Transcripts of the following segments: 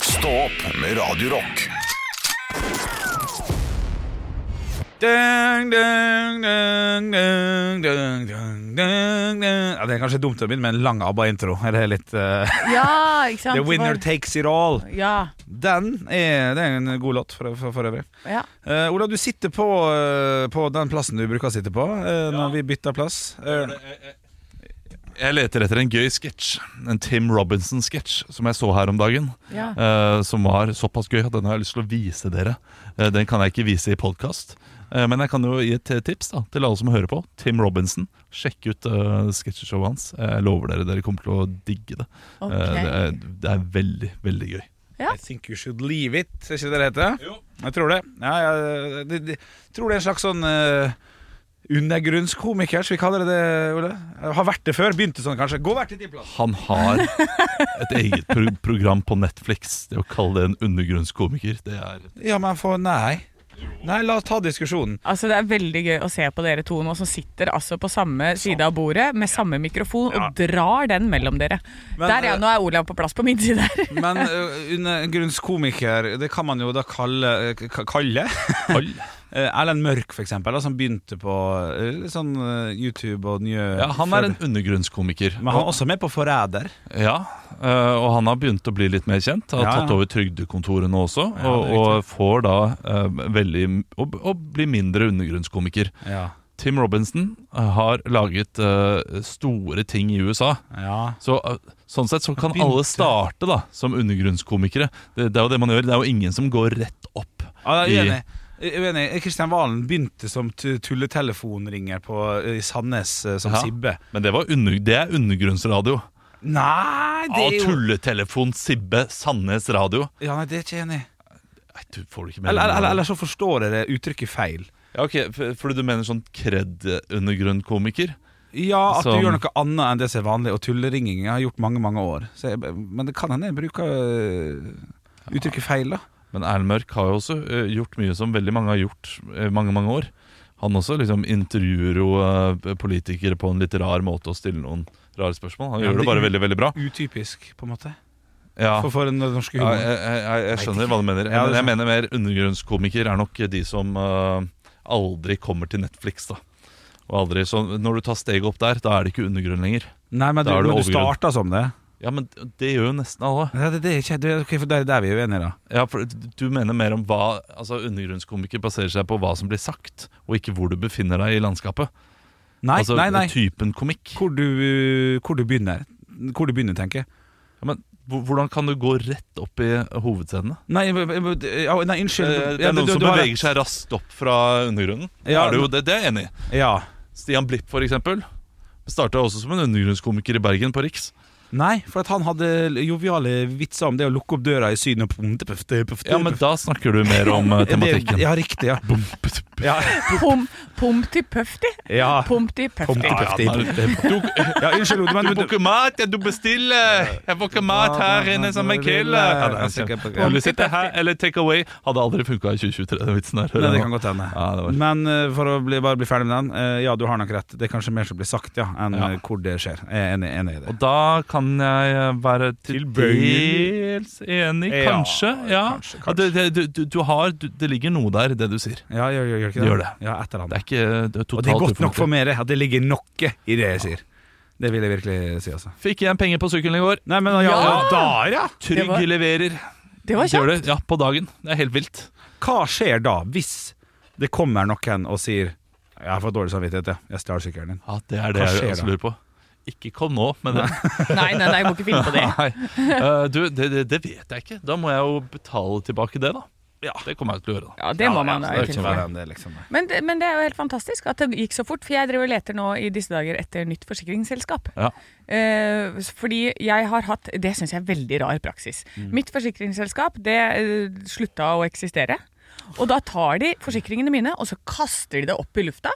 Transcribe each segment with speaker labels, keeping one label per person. Speaker 1: Stå opp med Radio Rock.
Speaker 2: Dun, dun, dun, dun, dun, dun, dun, dun. Ja, det er kanskje dumt å begynne med en lang ABBA-intro. Eller litt eh,
Speaker 3: Ja, ikke sant?
Speaker 2: The winner
Speaker 3: Var-
Speaker 2: takes it all.
Speaker 3: Ja.
Speaker 2: Den er, det er en god låt for, for, for øvrig.
Speaker 3: ja.
Speaker 2: Eh, Ola, du sitter på, eh, på den plassen du bruker å sitte på eh, når vi bytter plass. Eh,
Speaker 4: Jeg leter etter en gøy sketsj. En Tim Robinson-sketsj som jeg så her om dagen.
Speaker 3: Ja.
Speaker 4: eh, som var såpass gøy at den har jeg lyst til å vise dere. Eh, den kan jeg ikke vise i podkast. men jeg kan jo gi et tips da, til alle som hører på. Tim Robinson. Sjekk ut uh, sketsjeshowet hans. Jeg lover dere, dere kommer til å digge det. Eh,
Speaker 3: Ok.
Speaker 4: det, er, det er veldig, veldig gøy.
Speaker 3: Ja.
Speaker 2: I think you should leave it, er ikke det det heter? Jeg tror det. Ja, jeg, de, de, tror det er en slags sånn eh, undergrunnskomiker, skal vi kalle det det, Ole? Har vært det før, begynte sånn kanskje. Gå hvert til din plass.
Speaker 4: Han har et eget pro program på Netflix. Det å kalle det en undergrunnskomiker, det er
Speaker 2: Ja, men for nei. Nei, la oss ta diskusjonen.
Speaker 3: Altså, det er veldig gøy å se på dere to nå som sitter altså på samme side av bordet med samme mikrofon og drar den mellom dere.
Speaker 2: Men,
Speaker 3: Der, ja.
Speaker 2: eh,
Speaker 3: Nå er Olav på plass på min side her.
Speaker 2: Men eh, undergrunnskomiker, det kan man jo da kalle k- Kalle?
Speaker 4: Kall.
Speaker 2: Eh, Erlend Mørk, for eksempel, da, som begynte på eh, litt sånn eh, YouTube og nye
Speaker 4: Ja, han er en undergrunnskomiker.
Speaker 2: Men han er også med på Forræder.
Speaker 4: Ja, eh, og han har begynt å bli litt mer kjent. Har
Speaker 2: Ja, ja.
Speaker 4: tatt over trygdekontoret nå også,
Speaker 2: Ja,
Speaker 4: og,
Speaker 2: det er
Speaker 4: og får da eh, veldig og, og blir mindre undergrunnskomiker.
Speaker 2: Ja.
Speaker 4: Tim Robinson har laget eh, store ting i USA.
Speaker 2: ja.
Speaker 4: Så, eh, sånn sett så kan
Speaker 2: begynte-
Speaker 4: alle starte da som undergrunnskomikere. Det, det er jo det man gjør. Det er jo ingen som går rett opp.
Speaker 2: Ja, Ah, jeg er
Speaker 4: i-
Speaker 2: uenig. Jeg er uenig. Kristian Valen begynte som tu- tulletelefonringer på, i Sandnes eh, som
Speaker 4: Ja.
Speaker 2: Sibbe.
Speaker 4: Men det, var under, det er undergrunnsradio.
Speaker 2: Nei, det
Speaker 4: Av
Speaker 2: er jo
Speaker 4: tulletelefon Sibbe Sandnes radio.
Speaker 2: ja, nei, det er jeg ikke enig i.
Speaker 4: Nei, du får det ikke med
Speaker 2: Eller,
Speaker 4: deg.
Speaker 2: eller, eller så forstår jeg det uttrykket feil.
Speaker 4: Ja, ok, for- Fordi du mener sånn kred-undergrunnkomiker?
Speaker 2: Ja, at du
Speaker 4: Som-
Speaker 2: gjør noe annet enn det som er vanlig, og tulleringing jeg har gjort mange mange år. Så jeg, men det kan hende jeg bruker eh, uttrykket feil, da.
Speaker 4: Men Erlend Mørk har jo også eh, gjort mye som veldig mange har gjort eh, mange, mange år. Han også liksom intervjuer jo eh, politikere på en litt rar måte og stiller noen rare spørsmål. Han
Speaker 2: Ja,
Speaker 4: gjør
Speaker 2: men
Speaker 4: det bare
Speaker 2: det-
Speaker 4: veldig, veldig bra.
Speaker 2: Utypisk, på en måte.
Speaker 4: Ja,
Speaker 2: For, for den norske
Speaker 4: ja
Speaker 2: humoren.
Speaker 4: jeg, jeg, jeg, jeg skjønner hva du
Speaker 2: Ja,
Speaker 4: mener.
Speaker 2: det
Speaker 4: Men jeg
Speaker 2: skjønner.
Speaker 4: mener mer undergrunnskomikere er nok de som eh, aldri kommer til Netflix, da. Og aldri, så når du tar steget opp der, da er det ikke undergrunn lenger.
Speaker 2: Nei, men du,
Speaker 4: Da er
Speaker 2: men
Speaker 4: du
Speaker 2: du
Speaker 4: overgrunn.
Speaker 2: starta som det.
Speaker 4: Ja, men det gjør jo nesten alle.
Speaker 2: Nei, det, det er ikke, det, er- ok, for der, der er vi uenige, da.
Speaker 4: Ja, for Du mener mer om hva altså Undergrunnskomiker baserer seg på hva som blir sagt, og ikke hvor du befinner deg i landskapet.
Speaker 2: Nei,
Speaker 4: altså
Speaker 2: nei, nei.
Speaker 4: typen komikk.
Speaker 2: Hvor du, hvor du begynner. Hvor du begynner, tenker jeg.
Speaker 4: Ja, men hvor- Hvordan kan du gå rett opp i hovedscenene?
Speaker 2: Nei, men- men- men- ja, nei unnskyld.
Speaker 4: Eh, Det
Speaker 2: Ja,
Speaker 4: er
Speaker 2: du-
Speaker 4: noen
Speaker 2: du-
Speaker 4: som
Speaker 2: du har
Speaker 4: beveger
Speaker 2: rett.
Speaker 4: seg raskt opp fra undergrunnen.
Speaker 2: Ja,
Speaker 4: er det, jo, det, det er jeg enig i.
Speaker 2: Ja.
Speaker 4: Stian Blipp, for eksempel. Starta også som en undergrunnskomiker i Bergen, på Riks.
Speaker 2: Nei, for at han hadde joviale vitser om det å lukke opp døra i Syden og pum, puff, puff,
Speaker 4: Ja, men da snakker du mer om eh, tematikken.
Speaker 2: Ja, riktig, ja.
Speaker 4: Bum, put, put.
Speaker 2: Ja,
Speaker 3: Pom, pomti pøfti.
Speaker 2: ja.
Speaker 3: Pomti pøfti.
Speaker 2: Pomti pøfti.
Speaker 4: Du,
Speaker 2: ja unnskyld, Ode, men
Speaker 4: du
Speaker 2: men
Speaker 4: får ikke mat, ja, du bestiller! Jeg får ikke mat her inne som en kille! Ja, det er sant. Vil du sitte her eller take away? Hadde aldri funka i 2023, den vitsen her.
Speaker 2: Nei, det kan godt hende.
Speaker 4: Ja, det var-
Speaker 2: Men eh, for å bli, bare bli ferdig med den, eh, ja, du har nok rett. Det er kanskje mer som blir sagt, ja, enn
Speaker 4: Ja.
Speaker 2: eh, hvor det skjer. Jeg er enig, enig i det.
Speaker 4: Og da kan jeg være til
Speaker 2: Tilbøyelig.
Speaker 4: dels enig,
Speaker 2: Ja,
Speaker 4: kanskje. Ja,
Speaker 2: kanskje,
Speaker 4: Ja, det, det, du, du, du har, du, det ligger noe der, i det du sier.
Speaker 2: Ja, gjør, gjør, gjør ikke det?
Speaker 4: Gjør det.
Speaker 2: Ja, et eller
Speaker 4: Det
Speaker 2: annet.
Speaker 4: er ikke det er totalt
Speaker 2: Og det er godt nok
Speaker 4: ufornuftig.
Speaker 2: for meg det, at det ligger noe i det jeg sier. Det vil jeg virkelig si, altså.
Speaker 4: Fikk igjen penger på sykkelen i går.
Speaker 2: Nei, men ja, ja.
Speaker 3: Ja!
Speaker 2: da, ja!
Speaker 4: Trygg
Speaker 3: Det var-
Speaker 4: leverer.
Speaker 3: Det var kjapt.
Speaker 4: Gjør det, ja, på dagen. Det er helt vilt.
Speaker 2: Hva skjer da, hvis det kommer noen og sier Jeg har fått dårlig samvittighet, jeg. Jeg stjal sykkelen din.
Speaker 4: Ja, det er
Speaker 2: Hva
Speaker 4: det jeg
Speaker 2: skjer
Speaker 4: også
Speaker 2: da?
Speaker 4: lurer på. Ikke kom nå med det.
Speaker 3: Nei, nei, nei, jeg må ikke finne på det.
Speaker 4: Nei. Eh, du, det, det, det vet jeg ikke. Da må jeg jo betale tilbake det, da. Ja, det kommer jeg til å gjøre. da
Speaker 3: Ja, det må man
Speaker 2: ja, det
Speaker 3: da. i
Speaker 2: er ikke noe
Speaker 3: tilfelle.
Speaker 2: verre enn det, liksom.
Speaker 3: Men det, men det er jo helt fantastisk at det gikk så fort, for jeg driver og leter nå i disse dager etter nytt forsikringsselskap.
Speaker 4: Ja.
Speaker 3: Eh, fordi jeg har hatt Det syns jeg er veldig rar praksis.
Speaker 2: Mm.
Speaker 3: Mitt forsikringsselskap det eh, slutta å eksistere. Og da tar de forsikringene mine og så kaster de det opp i lufta.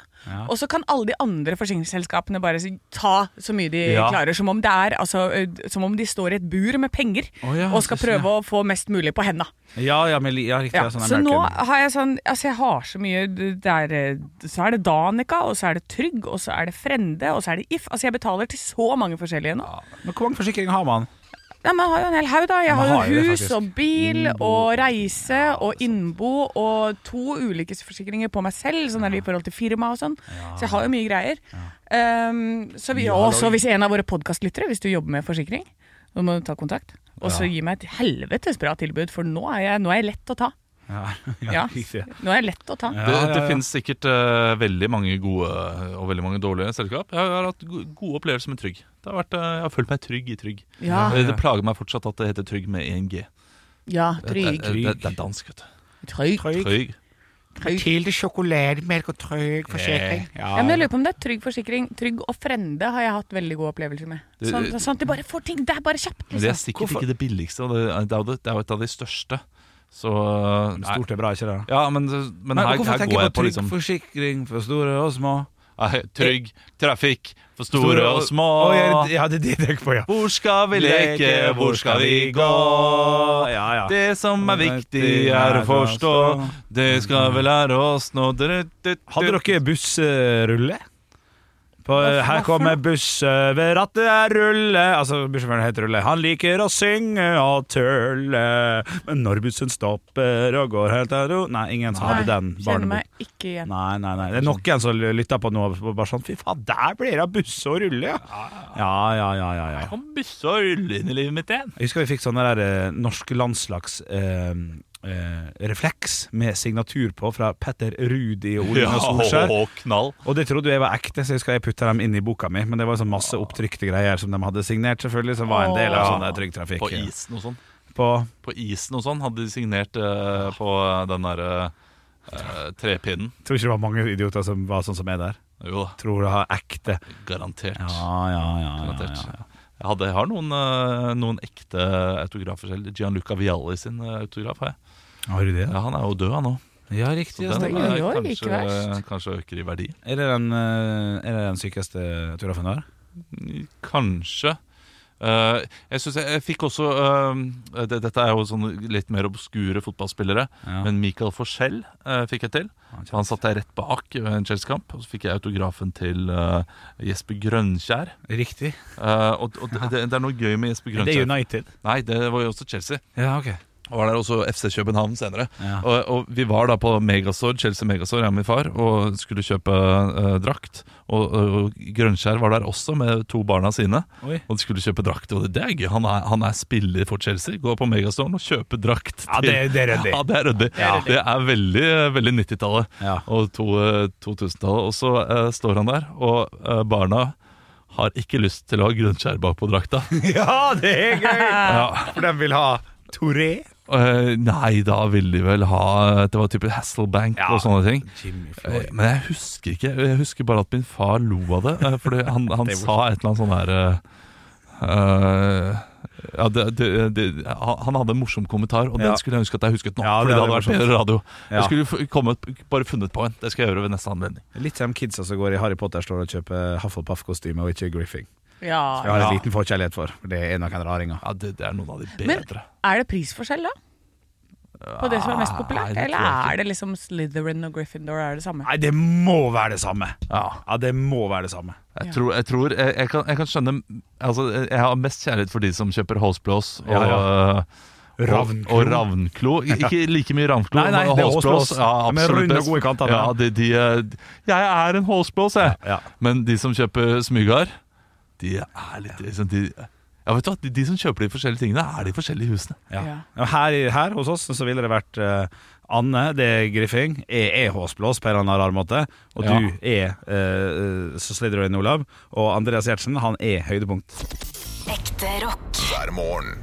Speaker 3: Og så kan alle de andre forsikringsselskapene bare si- ta så mye de
Speaker 4: Ja.
Speaker 3: klarer. Som om, det er, altså, eh, som om de står i et bur med penger
Speaker 2: Å ja,
Speaker 3: og skal
Speaker 2: det skjønner
Speaker 3: prøve å få mest mulig på henda.
Speaker 2: Ja, ja, men, li- ja riktig.
Speaker 3: Ja,
Speaker 2: Ja, sånn
Speaker 3: så nå
Speaker 2: American.
Speaker 3: har jeg sånn Altså jeg har så mye det er, eh, Så er det Danica, og så er det Trygg, og så er det Frende, og så er det If. Altså jeg betaler til så mange forskjellige nå.
Speaker 2: Men hvor mange forsikringer har man?
Speaker 3: Nei, man har jo en hel haug, da. Jeg
Speaker 2: Man
Speaker 3: har jo
Speaker 2: har jo det,
Speaker 3: hus
Speaker 2: faktisk. altså.
Speaker 3: og bil og reise og innbo og to ulykkesforsikringer på meg selv, sånn er det i forhold til firma og sånn. Så jeg har jo mye greier. Um, så vi,
Speaker 2: Ja,
Speaker 3: og
Speaker 2: da-
Speaker 3: så hvis en av våre podkastlyttere, hvis du jobber med forsikring, så må du ta kontakt. Og så gi meg et helvetes bra tilbud, for nå er jeg, nå er jeg lett å ta.
Speaker 2: Ja,
Speaker 3: Ja.
Speaker 2: riktig.
Speaker 3: Nå er jeg lett å ta.
Speaker 4: Det,
Speaker 2: Ja, ja,
Speaker 4: det
Speaker 2: ja.
Speaker 4: finnes sikkert eh, veldig mange gode og veldig mange dårlige selskap. Jeg har hatt go- gode opplevelser med Trygg. Det har vært, eh, jeg har følt meg trygg i Trygg.
Speaker 3: Ja.
Speaker 4: Eh, Det plager meg fortsatt at det heter Trygg med ENG.
Speaker 3: Ja,
Speaker 4: Det,
Speaker 3: trygg.
Speaker 4: det, det, det er dansk, vet du.
Speaker 3: Trygg.
Speaker 4: Trygg.
Speaker 2: Tilde sjokolademelk og trygg Eh,
Speaker 4: forsikring.
Speaker 3: Ja, men jeg lurer på om det er trygg forsikring. Trygg og frende har jeg hatt veldig gode opplevelser med.
Speaker 4: Det-
Speaker 3: Sånn, sånn at de bare får ting. Det er bare kjapt.
Speaker 4: Men det er
Speaker 3: Liksom.
Speaker 4: sikkert ikke det billigste, og det er, det er jo det- det er jo et av de største. Så nei.
Speaker 2: Stort er bra, ikke det?
Speaker 4: Ja, men, men,
Speaker 2: Men
Speaker 4: her,
Speaker 2: hvorfor
Speaker 4: her
Speaker 2: tenker
Speaker 4: går
Speaker 2: jeg
Speaker 4: jeg
Speaker 2: på
Speaker 4: på
Speaker 2: trygg
Speaker 4: liksom
Speaker 2: forsikring for store og små?
Speaker 4: Nei, Trygg trafikk for store og små.
Speaker 2: Å, ja, det- ja, det er det jeg tenker på, ja.
Speaker 4: Hvor skal vi leke, hvor skal vi gå?
Speaker 2: Ja, ja.
Speaker 4: Det som er viktig, er å forstå.
Speaker 2: altså-
Speaker 4: Det skal vi lære oss nå
Speaker 2: Hadde dere bussrulle? På, her
Speaker 3: Hva- hva for
Speaker 2: kommer
Speaker 3: noe?
Speaker 2: buss ved rattet er rulle Altså bussjåføren heter Rulle. Han liker å synge og tulle. Men når bussen stopper og går helt til ro Nei, ingen som hadde den
Speaker 3: kjenner
Speaker 2: barneboka.
Speaker 3: meg ikke igjen.
Speaker 2: Nei, nei, nei. Det er noen som lytter på nå og bare sånn Fy faen, der blir det av busse og rulle, ja. Ja, ja, ja, ja, ja.
Speaker 4: Kom busse og rulle inn i livet mitt igjen.
Speaker 2: Jeg husker vi fikk sånn der eh, norsk landslags eh, eh, refleks med signatur på fra Petter Rudi og Ole
Speaker 4: Ja,
Speaker 2: Gunnar Solskjær.
Speaker 4: og knall.
Speaker 2: Og det trodde jeg var ekte, så jeg husker jeg putta dem inn i boka mi. Men det var sånn masse opptrykte greier som de hadde signert, selvfølgelig, som var en del av
Speaker 4: Åh.
Speaker 2: sånn der Trygg Trafikk.
Speaker 4: På isen og sånn.
Speaker 2: På
Speaker 4: På isen og sånn hadde de signert eh, på den derre eh, trepinnen.
Speaker 2: Tror ikke det var mange idioter som var sånn som meg der.
Speaker 4: Jo da,
Speaker 2: Tror det var ekte.
Speaker 4: garantert.
Speaker 2: Ja, ja, ja. ja,
Speaker 4: Garantert.
Speaker 2: ja.
Speaker 4: Jeg, hadde, jeg har noen, eh, noen ekte autografer selv. Gianluca Vialli sin eh, autograf har jeg.
Speaker 2: Har du det?
Speaker 4: Ja, han er jo død, han òg.
Speaker 2: Ja, riktig.
Speaker 4: Den
Speaker 3: stemmer.
Speaker 4: er
Speaker 3: Oi, oi, ikke
Speaker 4: kanskje,
Speaker 3: verst.
Speaker 4: kanskje øker i verdi.
Speaker 2: Er det den, eh, er det den sykeste autografen du har?
Speaker 4: Kanskje. Eh, jeg synes jeg, jeg fikk også eh, det, Dette er jo sånn litt mer obskure fotballspillere,
Speaker 2: Ja.
Speaker 4: men Michael Forskjell eh, fikk jeg til. Han satt jeg rett bak ved en Chelsea-kamp, og så fikk jeg autografen til eh, Jesper Grønkjær.
Speaker 2: Riktig.
Speaker 4: Eh, og og det, det, det er noe gøy med Jesper
Speaker 2: Det er
Speaker 4: Grønkjær.
Speaker 2: United.
Speaker 4: Nei, det var jo også Chelsea.
Speaker 2: Ja, ok.
Speaker 4: Og var der også FC København senere.
Speaker 2: Ja.
Speaker 4: Og, og vi var da på Megazord, Chelsea Megazord, jeg og min far, og skulle kjøpe eh, drakt. Og, og, og Grønskjær var der også med to barna sine.
Speaker 2: Oi.
Speaker 4: Og de skulle kjøpe drakt. Og det, det er gøy. Han er, han er spiller for Chelsea. Går på Megastoren og kjøper drakt.
Speaker 2: Ja, det- det er ryddig.
Speaker 4: Ja, det er ryddig.
Speaker 2: Ja.
Speaker 4: Det er veldig, veldig 90-tallet
Speaker 2: Ja.
Speaker 4: og to- 2000-tallet. Og så eh, står han der, og eh, barna har ikke lyst til å ha Grønskjær bak på drakta.
Speaker 2: Ja, det er gøy! For de vil ha Toré.
Speaker 4: Eh, nei, da ville de vel ha Det var type Hasselbank
Speaker 2: Ja.
Speaker 4: og sånne ting.
Speaker 2: Jimmy
Speaker 4: Eh, Men jeg husker ikke. Jeg husker bare at min far lo av det. eh, Fordi han, han
Speaker 2: Det er
Speaker 4: sa et eller annet sånn der eh, eh, ja, det, det, det, han han hadde en morsom kommentar, og
Speaker 2: Ja.
Speaker 4: den skulle jeg ønske at jeg husket nå.
Speaker 2: Ja,
Speaker 4: fordi
Speaker 2: det
Speaker 4: det
Speaker 2: er
Speaker 4: hadde vært
Speaker 2: morsomt.
Speaker 4: bedre radio
Speaker 2: Ja.
Speaker 4: Jeg skulle f- kommet, bare funnet på en. Det skal jeg gjøre ved neste anledning.
Speaker 2: Litt som kidsa som går i Harry Potter står og kjøper Hufflepuff-kostyme og ikke Griffing.
Speaker 3: Ja,
Speaker 2: Jeg har en
Speaker 3: ja.
Speaker 2: liten forkjærlighet for, for det er noen raringer.
Speaker 4: Ja, Det, det er noen av de
Speaker 3: Men
Speaker 4: bedre.
Speaker 3: er det prisforskjell, da? På det som er mest
Speaker 4: Nei,
Speaker 3: populært?
Speaker 4: det tror jeg
Speaker 3: Eller
Speaker 4: ikke.
Speaker 3: er det liksom Slytherin og Gryffindor er det samme?
Speaker 2: Nei, det må være det samme!
Speaker 4: ja.
Speaker 2: Ja, det må være det samme.
Speaker 4: Jeg
Speaker 3: Ja.
Speaker 4: tror, jeg, tror jeg, jeg, kan, jeg kan skjønne altså, Jeg har mest kjærlighet for de som kjøper halsblås og,
Speaker 2: Ja,
Speaker 4: eh,
Speaker 2: Ravnklo.
Speaker 4: og, og ravnklo. Ik- Ikke like mye ravnklo,
Speaker 2: Nei, nei,
Speaker 4: men
Speaker 2: det er
Speaker 4: halsblås.
Speaker 2: halsblås.
Speaker 4: Ja,
Speaker 2: Men
Speaker 4: absolutt
Speaker 2: runde og
Speaker 4: best.
Speaker 2: gode i kantene.
Speaker 4: Ja, de, de, eh, jeg er en halsblås, jeg.
Speaker 2: Ja, ja.
Speaker 4: Men de som kjøper smygar, de er litt liksom, de, ja, vet du hva, de, de som kjøper de forskjellige tingene, er de forskjellige husene.
Speaker 2: Ja.
Speaker 3: Ja.
Speaker 2: Og Her, her hos oss så ville det vært eh, Anne, det er E, Griffing. Jeg er håsblås på en eller annen rar måte. Og
Speaker 4: Ja.
Speaker 2: du E, er uh, Slytherin Olav. Og Andreas Gjertsen, han er høydepunkt.
Speaker 5: Ekte rock.
Speaker 1: hver morgen.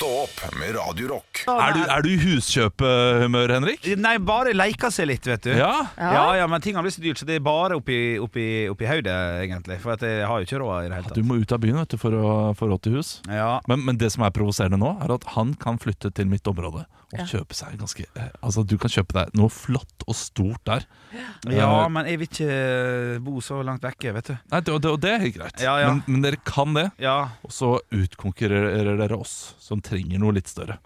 Speaker 1: Stå opp med Radio Rock. nok.
Speaker 4: Er du, er du i huskjøpehumør, Henrik?
Speaker 2: Nei, bare leika seg litt, vet du.
Speaker 4: Ja?
Speaker 3: Ja.
Speaker 2: Ja, ja, men ting har blitt så dyrt, så det er bare oppi, oppi, oppi hodet, egentlig. For at jeg har jo ikke råd i det hele
Speaker 4: Du
Speaker 2: tatt.
Speaker 4: må ut av byen vet du, for å få råd til hus.
Speaker 2: Ja,
Speaker 4: Men, men det som er provoserende nå, er at han kan flytte til mitt område og
Speaker 3: Ja.
Speaker 4: kjøpe seg ganske eh, Altså, du kan kjøpe deg noe flott og stort der.
Speaker 2: ja,
Speaker 4: Eh,
Speaker 2: men jeg vil ikke eh, bo så langt vekke, vet du.
Speaker 4: Nei, det, det, og det er helt greit,
Speaker 2: Ja, ja.
Speaker 4: Men, men dere kan det.
Speaker 2: Ja,
Speaker 4: Og så utkonkurrerer dere oss, som trenger noe litt større.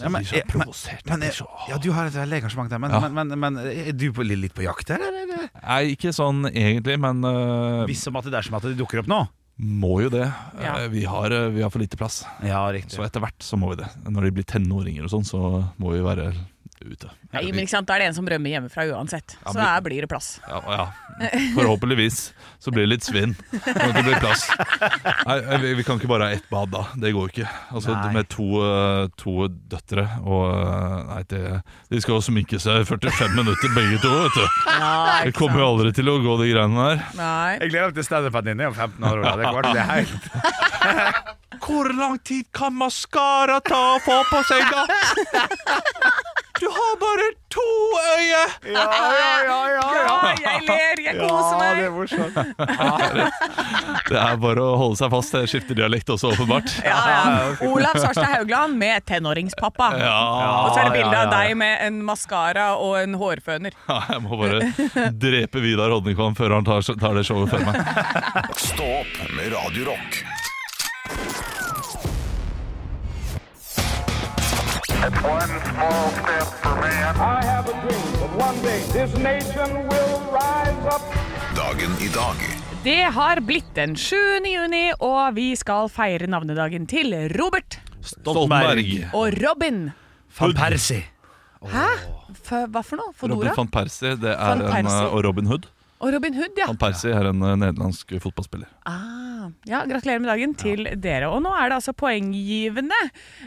Speaker 2: ja men,
Speaker 4: jeg,
Speaker 2: jeg, men,
Speaker 4: blir så provosert, jeg
Speaker 2: men
Speaker 4: blir
Speaker 2: jeg,
Speaker 4: så-
Speaker 2: ja, du har et veldig engasjement der, men,
Speaker 4: Ja.
Speaker 2: men, men, men er du på, litt på jakt, eller? Er det-
Speaker 4: Nei, ikke sånn egentlig, men eh,
Speaker 2: Hvis som at det er som at det dukker opp nå.
Speaker 4: må jo det.
Speaker 3: Ja.
Speaker 4: Eh, vi, har, eh, vi har for lite plass.
Speaker 2: Ja,
Speaker 4: Så
Speaker 2: riktig.
Speaker 4: etter hvert så må vi det. Når de blir tenåringer og sånn, så må vi være ute.
Speaker 3: Nei, men ikke sant, Da er det en som rømmer hjemmefra uansett. Så
Speaker 4: men-
Speaker 3: der blir det plass.
Speaker 4: Ja, og ja. Forhåpentligvis så blir det litt svinn når det blir plass. Nei, eh, vi, vi kan ikke bare ha ett bad, da. Det går ikke. Altså,
Speaker 2: Nei.
Speaker 4: Med to, eh, to døtre og eh, Nei, det, de skal jo sminke seg i 45 minutter begge to, vet du.
Speaker 3: Ja,
Speaker 4: Det kommer jo aldri til å gå, de greiene der.
Speaker 3: Nei.
Speaker 2: Jeg gleder meg til standupen din om 15 år. Ola. Det kommer til å bli helt
Speaker 4: Hvor lang tid kan maskara ta å få på seg, da? Du har bare to øyne!
Speaker 2: Ja, ja, ja,
Speaker 3: Ja, jeg ler, jeg koser meg.
Speaker 2: morsomt.
Speaker 4: Det er bare å holde seg fast. Jeg skifter dialekt også, åpenbart.
Speaker 3: Ja, ja. Olav Svarstad Haugland med tenåringspappa.
Speaker 4: Ja,
Speaker 3: Og så er det bilde
Speaker 2: ja,
Speaker 3: av
Speaker 2: ja.
Speaker 3: deg med en maskara og en hårføner.
Speaker 4: jeg må bare drepe Vidar Hodnekvam før han tar, tar det showet før meg.
Speaker 1: Stå opp med Radio Rock.
Speaker 5: One small step for man. I have a dream that one day this nation will rise up.
Speaker 1: Dagen i dag.
Speaker 3: Det har blitt den 7. juni, og vi skal feire navnedagen til Robert
Speaker 4: Stoltenberg.
Speaker 3: og Robin.
Speaker 2: Van Persie.
Speaker 3: Hæ? F hva for noe? Fodora?
Speaker 4: Robin van Persie, det
Speaker 3: Van
Speaker 4: er en, eh,
Speaker 3: Persie.
Speaker 4: og Robin Hood.
Speaker 3: Og Robin Hood, ja.
Speaker 4: Van Persie er en eh, nederlandsk fotballspiller.
Speaker 3: Ah, ja, gratulerer med dagen til dere. Og nå er det altså poenggivende.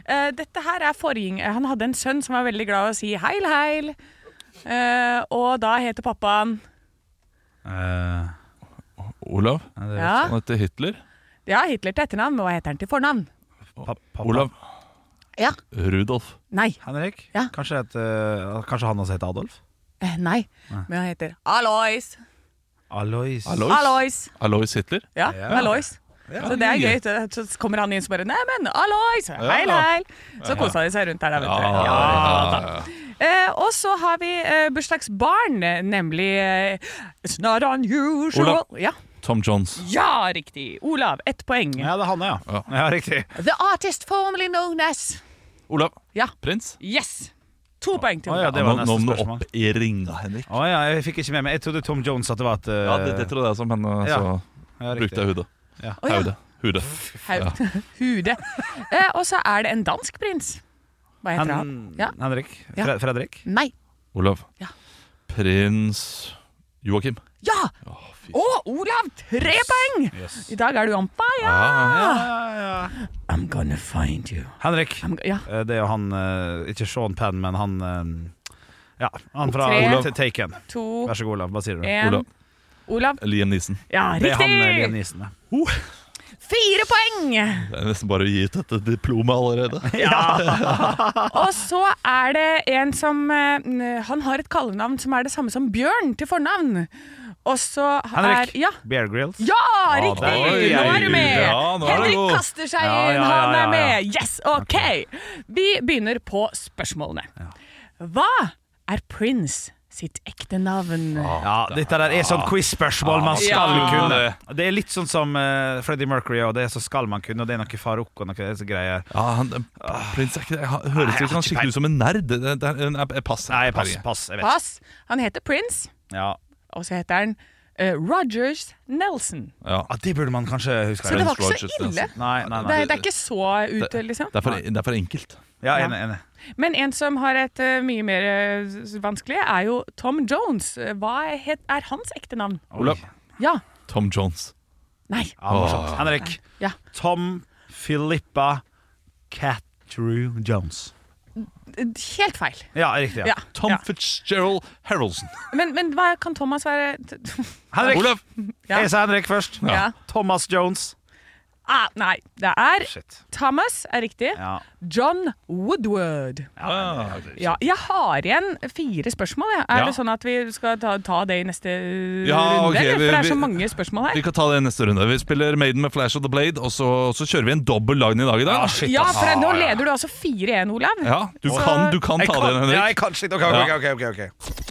Speaker 3: Eh, dette her er forgjeng... Han hadde en sønn som var veldig glad i å si heil, heil. Eh, og da heter pappaen
Speaker 2: Eh,
Speaker 4: Olav.
Speaker 3: ja,
Speaker 4: Han heter Hitler.
Speaker 3: ja, Hitler til etternavn, men hva heter han til fornavn?
Speaker 2: pa- pappa.
Speaker 4: Olav.
Speaker 3: Ja.
Speaker 4: Rudolf.
Speaker 3: Nei.
Speaker 2: Henrik?
Speaker 3: Ja.
Speaker 2: Kanskje, et, eh, kanskje han også heter Adolf?
Speaker 3: Eh, nei. Men han heter Alois.
Speaker 2: Alois.
Speaker 4: Alois.
Speaker 3: Alois.
Speaker 4: Alois Hitler.
Speaker 3: Ja,
Speaker 2: Ja.
Speaker 3: Alois. Så det er
Speaker 4: Ja.
Speaker 3: gøy. Så kommer han inn og bare Neimen, Alois! Heil,
Speaker 4: Ja.
Speaker 3: heil! Så kosa de seg rundt der, da, vet du.
Speaker 4: ja, ja.
Speaker 3: Eh, og så har vi eh, bursdagsbarn, nemlig eh, It's not unusual
Speaker 4: Olav.
Speaker 3: ja.
Speaker 4: Tom Johns.
Speaker 3: ja, riktig. Olav, ett poeng.
Speaker 2: Ja, det er han, ja.
Speaker 4: Ja.
Speaker 2: ja. riktig.
Speaker 3: The artist formerly known as
Speaker 4: Olav.
Speaker 3: Ja.
Speaker 4: Prins.
Speaker 3: Yes!
Speaker 4: Ah,
Speaker 3: To poeng til
Speaker 2: Å, ja,
Speaker 3: Olav.
Speaker 2: det var
Speaker 4: Nå-
Speaker 2: neste
Speaker 4: nå må du
Speaker 2: spørsmål.
Speaker 4: opp i ringa, Henrik.
Speaker 2: Å ja, jeg fikk ikke med meg. Jeg trodde Tom Jones at det var et eh,
Speaker 4: Ja, det, det trodde jeg også, men eh, så
Speaker 2: ja, riktig.
Speaker 4: brukte jeg hodet.
Speaker 2: Ja.
Speaker 3: Å, ja.
Speaker 4: Haude. Hude.
Speaker 3: Haug- Hude. Eh, og så er det en dansk prins. Hva heter han?
Speaker 2: Hen-
Speaker 3: Ja.
Speaker 2: Henrik?
Speaker 3: Ja.
Speaker 2: Fre Fredrik?
Speaker 3: Nei.
Speaker 4: Olav.
Speaker 3: Ja.
Speaker 4: Prins Joakim.
Speaker 3: Ja! Å, Olav! Tre poeng! I dag er du on fire!
Speaker 4: Ah,
Speaker 3: I'm gonna find you.
Speaker 2: Henrik.
Speaker 3: I'm go ja.
Speaker 2: Eh, Det er jo han eh, Ikke Sean Penn, men han eh, Ja, han fra
Speaker 3: Tre.
Speaker 2: Olav til Taken.
Speaker 3: To,
Speaker 2: Vær så god, Olav. Hva sier du?
Speaker 3: én
Speaker 4: Olav.
Speaker 3: Olav.
Speaker 4: Liam Neeson.
Speaker 3: Ja,
Speaker 2: Det er han eh, Liam
Speaker 3: Eh, riktig!
Speaker 2: Neeson. ja.
Speaker 3: Fire poeng!
Speaker 4: Det er nesten bare å gi ut dette diplomet allerede.
Speaker 3: Og så er det en som eh, Han har et kallenavn som er det samme som Bjørn til fornavn. Og så er
Speaker 2: Henrik. Ah,
Speaker 3: Ja,
Speaker 2: Bear Grills.
Speaker 3: ja
Speaker 4: da
Speaker 3: riktig!
Speaker 4: er
Speaker 3: nå er
Speaker 4: jeg-
Speaker 3: du med!
Speaker 4: Ja, nå er du
Speaker 3: Henrik
Speaker 4: god.
Speaker 3: kaster seg
Speaker 2: Ja,
Speaker 3: inn,
Speaker 2: ja, ja, ja,
Speaker 3: han er
Speaker 2: ja.
Speaker 3: med! Yes, OK! Vi begynner på spørsmålene. Hva er Prince sitt ekte navn?
Speaker 2: Ja, dette der er sånn quiz-spørsmål man skal
Speaker 3: Ja.
Speaker 2: kunne. Det er litt sånn som eh, Freddie Mercury, og det er så skal man kunne, og det er noe Farouk og noe så greier.
Speaker 4: Ja, han, prins er ikke det. Han høres
Speaker 2: jeg
Speaker 4: ut
Speaker 2: har
Speaker 4: som han
Speaker 2: ikke
Speaker 4: skikkelig ut som en nerd. Det, det, det, nei, pass.
Speaker 2: Nei, pass, pass. Jeg vet.
Speaker 3: Pass. Han heter Prince,
Speaker 2: Ja.
Speaker 3: og så heter han eh, Rogers Nelson.
Speaker 4: Ja.
Speaker 2: Ja, det burde man kanskje huske.
Speaker 3: Så det var
Speaker 4: Prince
Speaker 3: ikke så
Speaker 4: Rogers
Speaker 3: ille.
Speaker 4: Nelson.
Speaker 2: Nei, nei,
Speaker 3: Det
Speaker 2: nei.
Speaker 3: er, det er ikke så ute, liksom.
Speaker 4: Det er, for, det er for enkelt.
Speaker 2: Ja, enig, enig.
Speaker 3: Men en som har et eh, mye mer eh, s- vanskelig, er jo Tom Jones. Eh, Hva het, er hans ekte navn?
Speaker 4: Olav.
Speaker 3: Ja.
Speaker 4: Tom Jones.
Speaker 3: Nei.
Speaker 2: Ja, morsomt. Henrik.
Speaker 3: Ja.
Speaker 2: Tom Filippa Catrew Jones.
Speaker 3: Eh, Helt feil.
Speaker 2: Ja, riktig. Ja.
Speaker 3: Ja.
Speaker 4: Tom
Speaker 3: ja.
Speaker 4: Fitzgerald Harroldson.
Speaker 3: Men, men hva kan Thomas være? T-
Speaker 2: Henrik!
Speaker 4: Olav.
Speaker 3: Ja.
Speaker 2: Jeg sa Henrik først.
Speaker 3: Ja.
Speaker 2: Thomas Jones.
Speaker 3: Ah, nei, det er
Speaker 2: Shit.
Speaker 3: Thomas er riktig.
Speaker 2: Ja.
Speaker 3: John Woodward.
Speaker 4: Ah,
Speaker 3: Ja, jeg har igjen fire spørsmål. Jeg. Er
Speaker 4: Ja.
Speaker 3: det sånn at vi skal ta, ta det i neste eh,
Speaker 4: Ja,
Speaker 3: runde?
Speaker 4: ok,
Speaker 3: eller?
Speaker 4: vi-
Speaker 3: For det er så
Speaker 4: vi-
Speaker 3: mange spørsmål
Speaker 4: Vi
Speaker 3: her.
Speaker 4: kan ta det i neste runde. Vi spiller Maiden med Flash of the Blade, og så, så kjører vi en dobbel Dagny i dag. i dag.
Speaker 2: Ah, shit,
Speaker 3: Ja,
Speaker 2: ass.
Speaker 3: for nå leder du altså 4-1, Olav.
Speaker 4: Ja, du, kan, du kan
Speaker 2: Jeg
Speaker 4: ta det igjen,
Speaker 2: kan, ja, jeg
Speaker 4: Henrik.
Speaker 2: kan shit. Ok, ok, ok, ok, ok.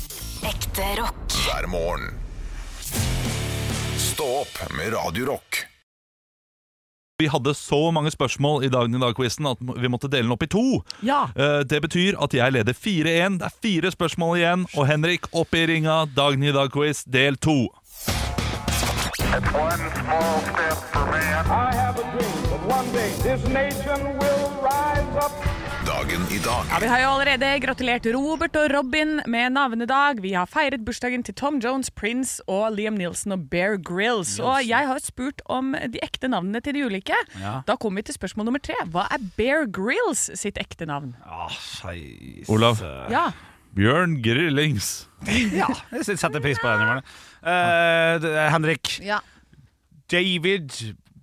Speaker 6: Ekte rock.
Speaker 1: hver morgen. Stå opp med Radio Rock.
Speaker 4: Vi hadde så mange spørsmål i Dagny i dag-quizen at vi måtte dele den opp i to.
Speaker 3: Ja.
Speaker 4: Eh, Det betyr at jeg leder 4-1. Det er fire spørsmål igjen. Og Henrik, opp i ringa. Dagny i dag-quiz del to.
Speaker 5: It's one small step for man. I have a dream that one day this nation will rise up.
Speaker 1: Dagen i
Speaker 3: Ja,
Speaker 1: dag
Speaker 3: Vi har jo allerede gratulert Robert og Robin med navnedag. Vi har feiret bursdagen til Tom Jones, Prince og Liam Nielsen og Bear Grylls. Og jeg har spurt om de ekte navnene til de ulike. Da kommer vi til spørsmål nummer tre. Hva er Bear Grylls sitt ekte navn?
Speaker 2: Ah, scheisse.
Speaker 4: Olav.
Speaker 3: Ja,
Speaker 4: Bjørn Grillings.
Speaker 2: Ja, jeg synes- setter pris på den. Johanne. Eh, det er Henrik.
Speaker 7: Ja.
Speaker 2: David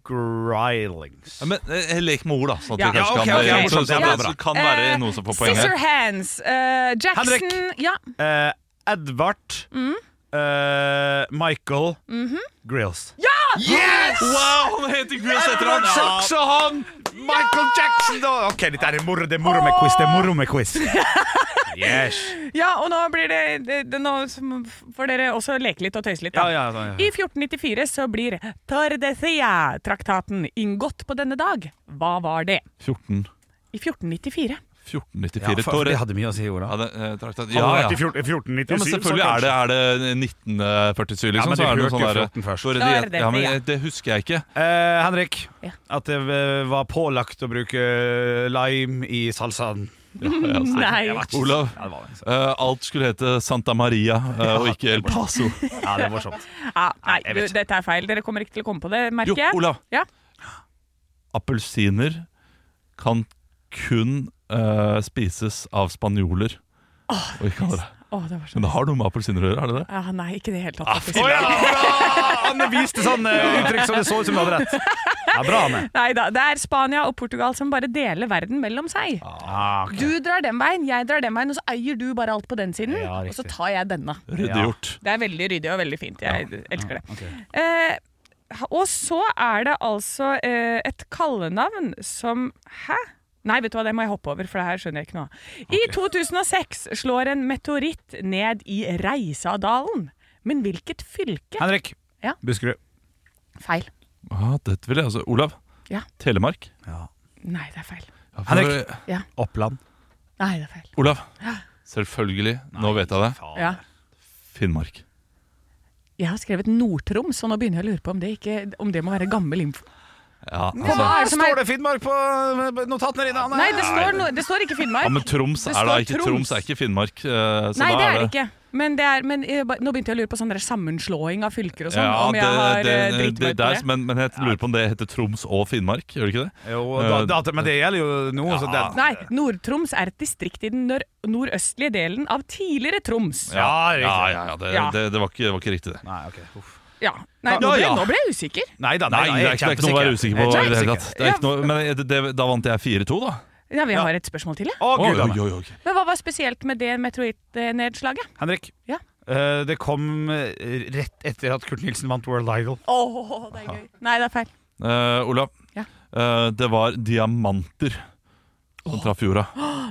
Speaker 2: Grylings.
Speaker 4: Ja, Men eh, lek med ord, da. Sånn at
Speaker 3: Ja.
Speaker 4: vi kanskje
Speaker 2: Ja, ok,
Speaker 4: kan,
Speaker 2: ok,
Speaker 4: så-
Speaker 2: morsomt,
Speaker 4: så-
Speaker 2: ja, det er
Speaker 4: så
Speaker 2: bra.
Speaker 4: kan
Speaker 3: Eh,
Speaker 4: være noen som får poeng
Speaker 3: Scissor
Speaker 4: her.
Speaker 3: Hands. eh, Jackson
Speaker 2: Henrik.
Speaker 3: Ja.
Speaker 2: Eh, Edvard eh, Michael Grills. Ja! Mm-hmm. Yes!
Speaker 4: Wow, han heter Grills etter
Speaker 2: Edvard
Speaker 4: han!
Speaker 2: Saxohan! Michael Jackson! Da. Ok, dette er moro, det er moro med quiz. Det er moro med quiz. Yes.
Speaker 3: ja, og nå blir det, det, det Nå får dere også leke litt og tøyse litt. da.
Speaker 2: Ja, ja, ja, ja.
Speaker 3: I 1494 så blir Tordesilla-traktaten inngått på denne dag. Hva var det?
Speaker 4: 14,
Speaker 3: I 1494.
Speaker 4: 1494.
Speaker 2: for-
Speaker 4: Tore.
Speaker 2: det hadde mye å si,
Speaker 4: Ja,
Speaker 2: Ola.
Speaker 4: det, eh,
Speaker 2: Hadde
Speaker 4: traktat-
Speaker 2: det
Speaker 4: ja, ja.
Speaker 2: vært i fjor- i 1497,
Speaker 4: Ja, men selvfølgelig
Speaker 2: så
Speaker 4: er det, er det 1947, liksom.
Speaker 2: Ja, men
Speaker 4: så
Speaker 2: de
Speaker 4: er det noe
Speaker 2: hørte
Speaker 4: sånn
Speaker 2: jo
Speaker 4: der-
Speaker 2: 14 først.
Speaker 4: Tore, de-
Speaker 3: Da er det det,
Speaker 4: ja, men
Speaker 3: ja.
Speaker 4: jeg- det husker jeg ikke.
Speaker 2: Eh, Henrik,
Speaker 3: Ja.
Speaker 2: at det eh, var pålagt å bruke eh, lime i salsaen.
Speaker 3: Nei.
Speaker 2: Jeg vet ikke.
Speaker 4: Olav.
Speaker 2: Ja, det var det.
Speaker 4: Eh, alt skulle hete Santa Maria eh, og ikke El Paso.
Speaker 2: Ja, det er morsomt.
Speaker 3: Ja, Ah, nei,
Speaker 2: jeg
Speaker 3: du,
Speaker 2: vet ikke.
Speaker 3: dette er feil. Dere kommer ikke til å komme på det, merker
Speaker 4: Jo,
Speaker 3: jeg.
Speaker 4: Olav.
Speaker 3: Ja.
Speaker 4: Appelsiner kan kun eh, spises av spanjoler. Og ikke andre.
Speaker 3: Å, det var
Speaker 4: Men
Speaker 3: sånn.
Speaker 4: det har noe med appelsiner å gjøre? er det det?
Speaker 3: Ja, nei, ikke i det hele tatt. faktisk.
Speaker 2: Å ja! Bra! Anne viste sånn eh, uttrykk som det så ut som du hadde rett. Ja, bra, Anne.
Speaker 3: Nei da. Det er Spania og Portugal som bare deler verden mellom seg.
Speaker 2: Ah, ok.
Speaker 3: Du drar den veien, jeg drar den veien, og så eier du bare alt på den siden.
Speaker 2: Ja,
Speaker 3: og så
Speaker 2: riktig.
Speaker 3: tar jeg denne.
Speaker 4: Ryddegjort.
Speaker 3: Det er veldig ryddig og veldig fint. Jeg elsker det. Eh, og så er det altså eh, et kallenavn som Hæ? Nei, vet du hva, det må jeg hoppe over, for det her skjønner jeg ikke noe av. I 2006 slår en meteoritt ned i Reisadalen. Men hvilket fylke?
Speaker 2: Henrik.
Speaker 3: Ja.
Speaker 2: Buskerud.
Speaker 3: Feil.
Speaker 4: Ah, dette vil jeg altså. Olav.
Speaker 3: Ja.
Speaker 4: Telemark.
Speaker 3: Nei, det er feil.
Speaker 4: Ja, for-
Speaker 2: Henrik.
Speaker 3: Ja.
Speaker 2: Oppland.
Speaker 3: Nei, det er feil.
Speaker 4: Olav. Selvfølgelig. Nå vet jeg det.
Speaker 3: Ja.
Speaker 4: Finnmark.
Speaker 3: Jeg har skrevet Nord-Troms, så nå begynner jeg å lure på om det, ikke, om det må være gammel info.
Speaker 4: Ja,
Speaker 3: Hva
Speaker 4: altså.
Speaker 3: er det som er
Speaker 2: Står det Finnmark på eh, notatene dine, Anne?
Speaker 3: Nei, det står, no, det står ikke Finnmark.
Speaker 4: ja men Troms
Speaker 3: Det
Speaker 4: er da
Speaker 3: står
Speaker 4: ikke
Speaker 3: Troms.
Speaker 4: Troms er ikke Finnmark. eh, så
Speaker 3: Nei,
Speaker 4: da
Speaker 3: det er det ikke. Men, det er, men jeg, ba- nå begynte jeg å lure på sånn der sammenslåing av fylker og sånn.
Speaker 4: Ja,
Speaker 3: om
Speaker 4: det,
Speaker 3: jeg har
Speaker 4: det,
Speaker 3: eh,
Speaker 4: det,
Speaker 3: dritt meg ut på
Speaker 4: der,
Speaker 3: det.
Speaker 4: men, men jeg lurer på om det heter Troms og Finnmark, gjør det ikke det?
Speaker 2: Jo,
Speaker 4: Eh,
Speaker 2: da, da, men det gjelder jo nå. Så det,
Speaker 3: Nei, Nord-Troms er et distrikt i den nør nordøstlige delen av tidligere Troms. Ja.
Speaker 2: Ja, riktig.
Speaker 4: ja, ja, ja, det,
Speaker 3: Ja.
Speaker 4: Det, det, var ikke, det var ikke riktig, det.
Speaker 2: Nei, ok. Uff.
Speaker 3: Nei, nå
Speaker 4: Ja,
Speaker 3: ble,
Speaker 4: ja.
Speaker 3: nå ble jeg usikker.
Speaker 2: Nei da,
Speaker 4: Nei,
Speaker 2: nei,
Speaker 4: det er
Speaker 2: jeg
Speaker 4: ikke, det er ikke noe å være
Speaker 2: kjempesikker.
Speaker 4: usikker på.
Speaker 2: Jeg
Speaker 4: i
Speaker 2: er
Speaker 4: Det, hele
Speaker 2: kjempesikker.
Speaker 4: tatt. det er ikke noe, men eh, det, det, da vant jeg 4-2, da.
Speaker 3: Ja, vi har et spørsmål til, jeg.
Speaker 2: Å,
Speaker 4: Oi,
Speaker 2: gud, Anne.
Speaker 4: oi, oi.
Speaker 3: Men hva var spesielt med det meteorittnedslaget?
Speaker 2: Henrik.
Speaker 3: Ja.
Speaker 2: Eh, det kom eh, rett etter at Kurt Nilsen vant World Idol.
Speaker 3: Åh, det er gøy. Nei, det er feil.
Speaker 4: Eh, Olav,
Speaker 3: Ja.
Speaker 4: Eh, det var diamanter som traff jorda.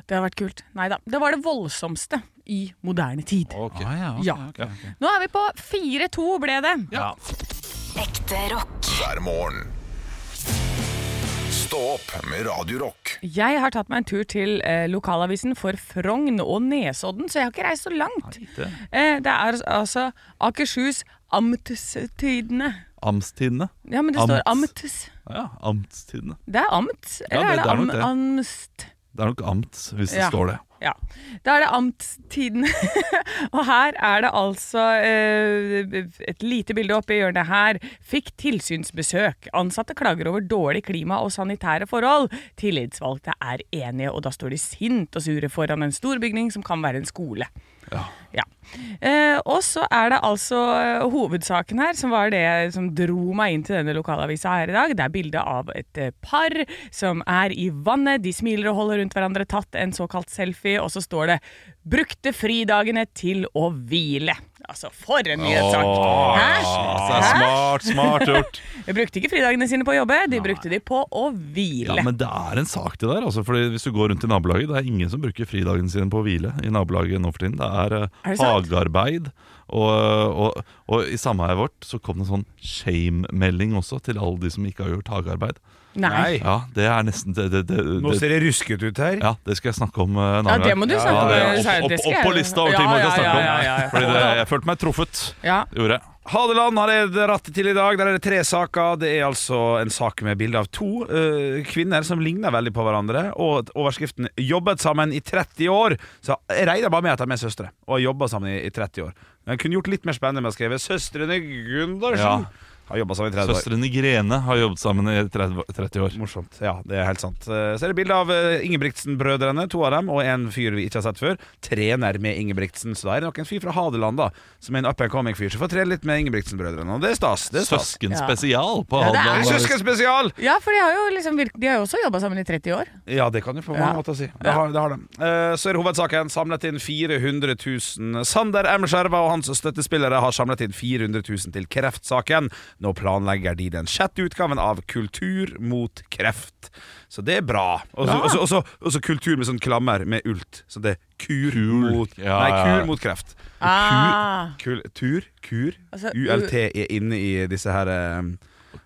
Speaker 3: Det har vært kult. Nei da. Det var det voldsomste i moderne tid.
Speaker 2: Ah, ja, ok,
Speaker 3: Ja.
Speaker 2: ok, ok.
Speaker 3: Nå er vi på 4-2 ble det.
Speaker 6: Ekte rock.
Speaker 1: hver morgen. Stå opp med Radio Rock.
Speaker 3: Jeg har tatt meg en tur til eh, lokalavisen for Frogn og Nesodden, så jeg har ikke reist så langt. Eh, det er altså Akershus Amtstidene.
Speaker 4: Amtstidene.
Speaker 3: Ja, men det står
Speaker 4: Amts.
Speaker 3: amts.
Speaker 4: Ja, amtstidene.
Speaker 3: Det er amt,
Speaker 4: Ja,
Speaker 3: eller
Speaker 4: det- det er
Speaker 3: er
Speaker 4: nok
Speaker 3: det
Speaker 4: det.
Speaker 3: am amst?
Speaker 4: Det er nok amt, hvis det
Speaker 3: Ja.
Speaker 4: står det.
Speaker 3: Ja. Da er det amtstiden. og her er det altså eh, et lite bilde oppe i hjørnet her. Fikk tilsynsbesøk. Ansatte klager over dårlig klima og sanitære forhold. Tillitsvalgte er enige, og da står de sint og sure foran en stor bygning som kan være en skole. Ja. Eh, og så er det altså eh, hovedsaken her, som var det som dro meg inn til denne lokalavisa her i dag. Det er bilde av et eh, par som er i vannet. De smiler og holder rundt hverandre, tatt en såkalt selfie, og så står det 'Brukte fridagene til å hvile'. Altså, for en nyhetssak! Hæ?
Speaker 4: Det er
Speaker 3: Hæ?
Speaker 4: smart, smart gjort.
Speaker 3: De brukte ikke fridagene sine på å jobbe, de brukte de på å hvile.
Speaker 4: Ja, Men det er en sak, det der. Altså, fordi hvis du går rundt i nabolaget Det er ingen som bruker fridagen sin på å hvile i nabolaget nå for tiden. Det er, eh,
Speaker 3: Er det sant?
Speaker 4: hagearbeid. Og, og, og i sameiet vårt så kom det en sånn shame-melding også til alle de som ikke har gjort hagearbeid.
Speaker 3: Nei.
Speaker 4: Ja, det er nesten det, det, det,
Speaker 2: Nå
Speaker 4: det,
Speaker 2: ser det rusket ut her.
Speaker 4: ja, det skal jeg snakke om eh, en
Speaker 3: Ja,
Speaker 4: annen
Speaker 3: det må du snakke om.
Speaker 4: det-
Speaker 3: Det-
Speaker 4: Opp,
Speaker 3: det
Speaker 4: opp,
Speaker 3: skal
Speaker 4: opp på
Speaker 3: jeg-
Speaker 4: lista over
Speaker 3: Ja,
Speaker 4: ting man
Speaker 3: ja,
Speaker 4: kan snakke om.
Speaker 3: ja, ja, ja.
Speaker 4: Fordi det, jeg følte meg truffet.
Speaker 3: Ja.
Speaker 4: Gjorde jeg.
Speaker 2: Hadeland har jeg rattet til i dag. Der er det tre saker. Det er altså en sak med bilde av to eh, kvinner som ligner veldig på hverandre. Og at overskriften 'Jobbet sammen i 30 år'. Så jeg regner bare med at de er søstre og har jobba sammen i, i 30 år. Men jeg kunne gjort litt mer spennende med å skrive 'Søstrene Gundersen'
Speaker 4: Ja.
Speaker 2: har jobba sammen i 30 år.
Speaker 4: Søstrene Grene har jobbet sammen i 30 30 år.
Speaker 2: Morsomt. Ja, det er helt sant. Eh, Så er det bilde av eh, Ingebrigtsen-brødrene, to av dem, og en fyr vi ikke har sett før. Trener med Ingebrigtsen. Så da er det nok en fyr fra Hadeland, da, som er en up and coming-fyr, som får trene litt med Ingebrigtsen-brødrene. Og det er stas. Det er stas.
Speaker 4: Søsken
Speaker 3: Ja.
Speaker 4: spesial på
Speaker 3: Ja, det er
Speaker 4: Hadeland.
Speaker 2: Søskenspesial!
Speaker 3: Ja, for de har jo liksom virk- de har jo også jobba sammen i 30 år.
Speaker 2: Ja, det kan du på mange
Speaker 3: Ja.
Speaker 2: måter si. Det har, det har de. Eh, Så er det hovedsaken. Samlet inn 400 000. Sander M. Skjerva og hans støttespillere har samlet inn 400 000 til kreftsaken. Nå planlegger de den sjette utgaven av Kultur mot kreft. Så det er bra. Og så- og så- og så- og så kultur med sånn klammer med ult. Så det er kur, mot
Speaker 4: Ja,
Speaker 2: Nei,
Speaker 4: ja, ja.
Speaker 2: kur mot kreft.
Speaker 3: Ah.
Speaker 2: Kul, tur, kur.
Speaker 3: Altså, u-
Speaker 2: ULT er inne i disse her eh,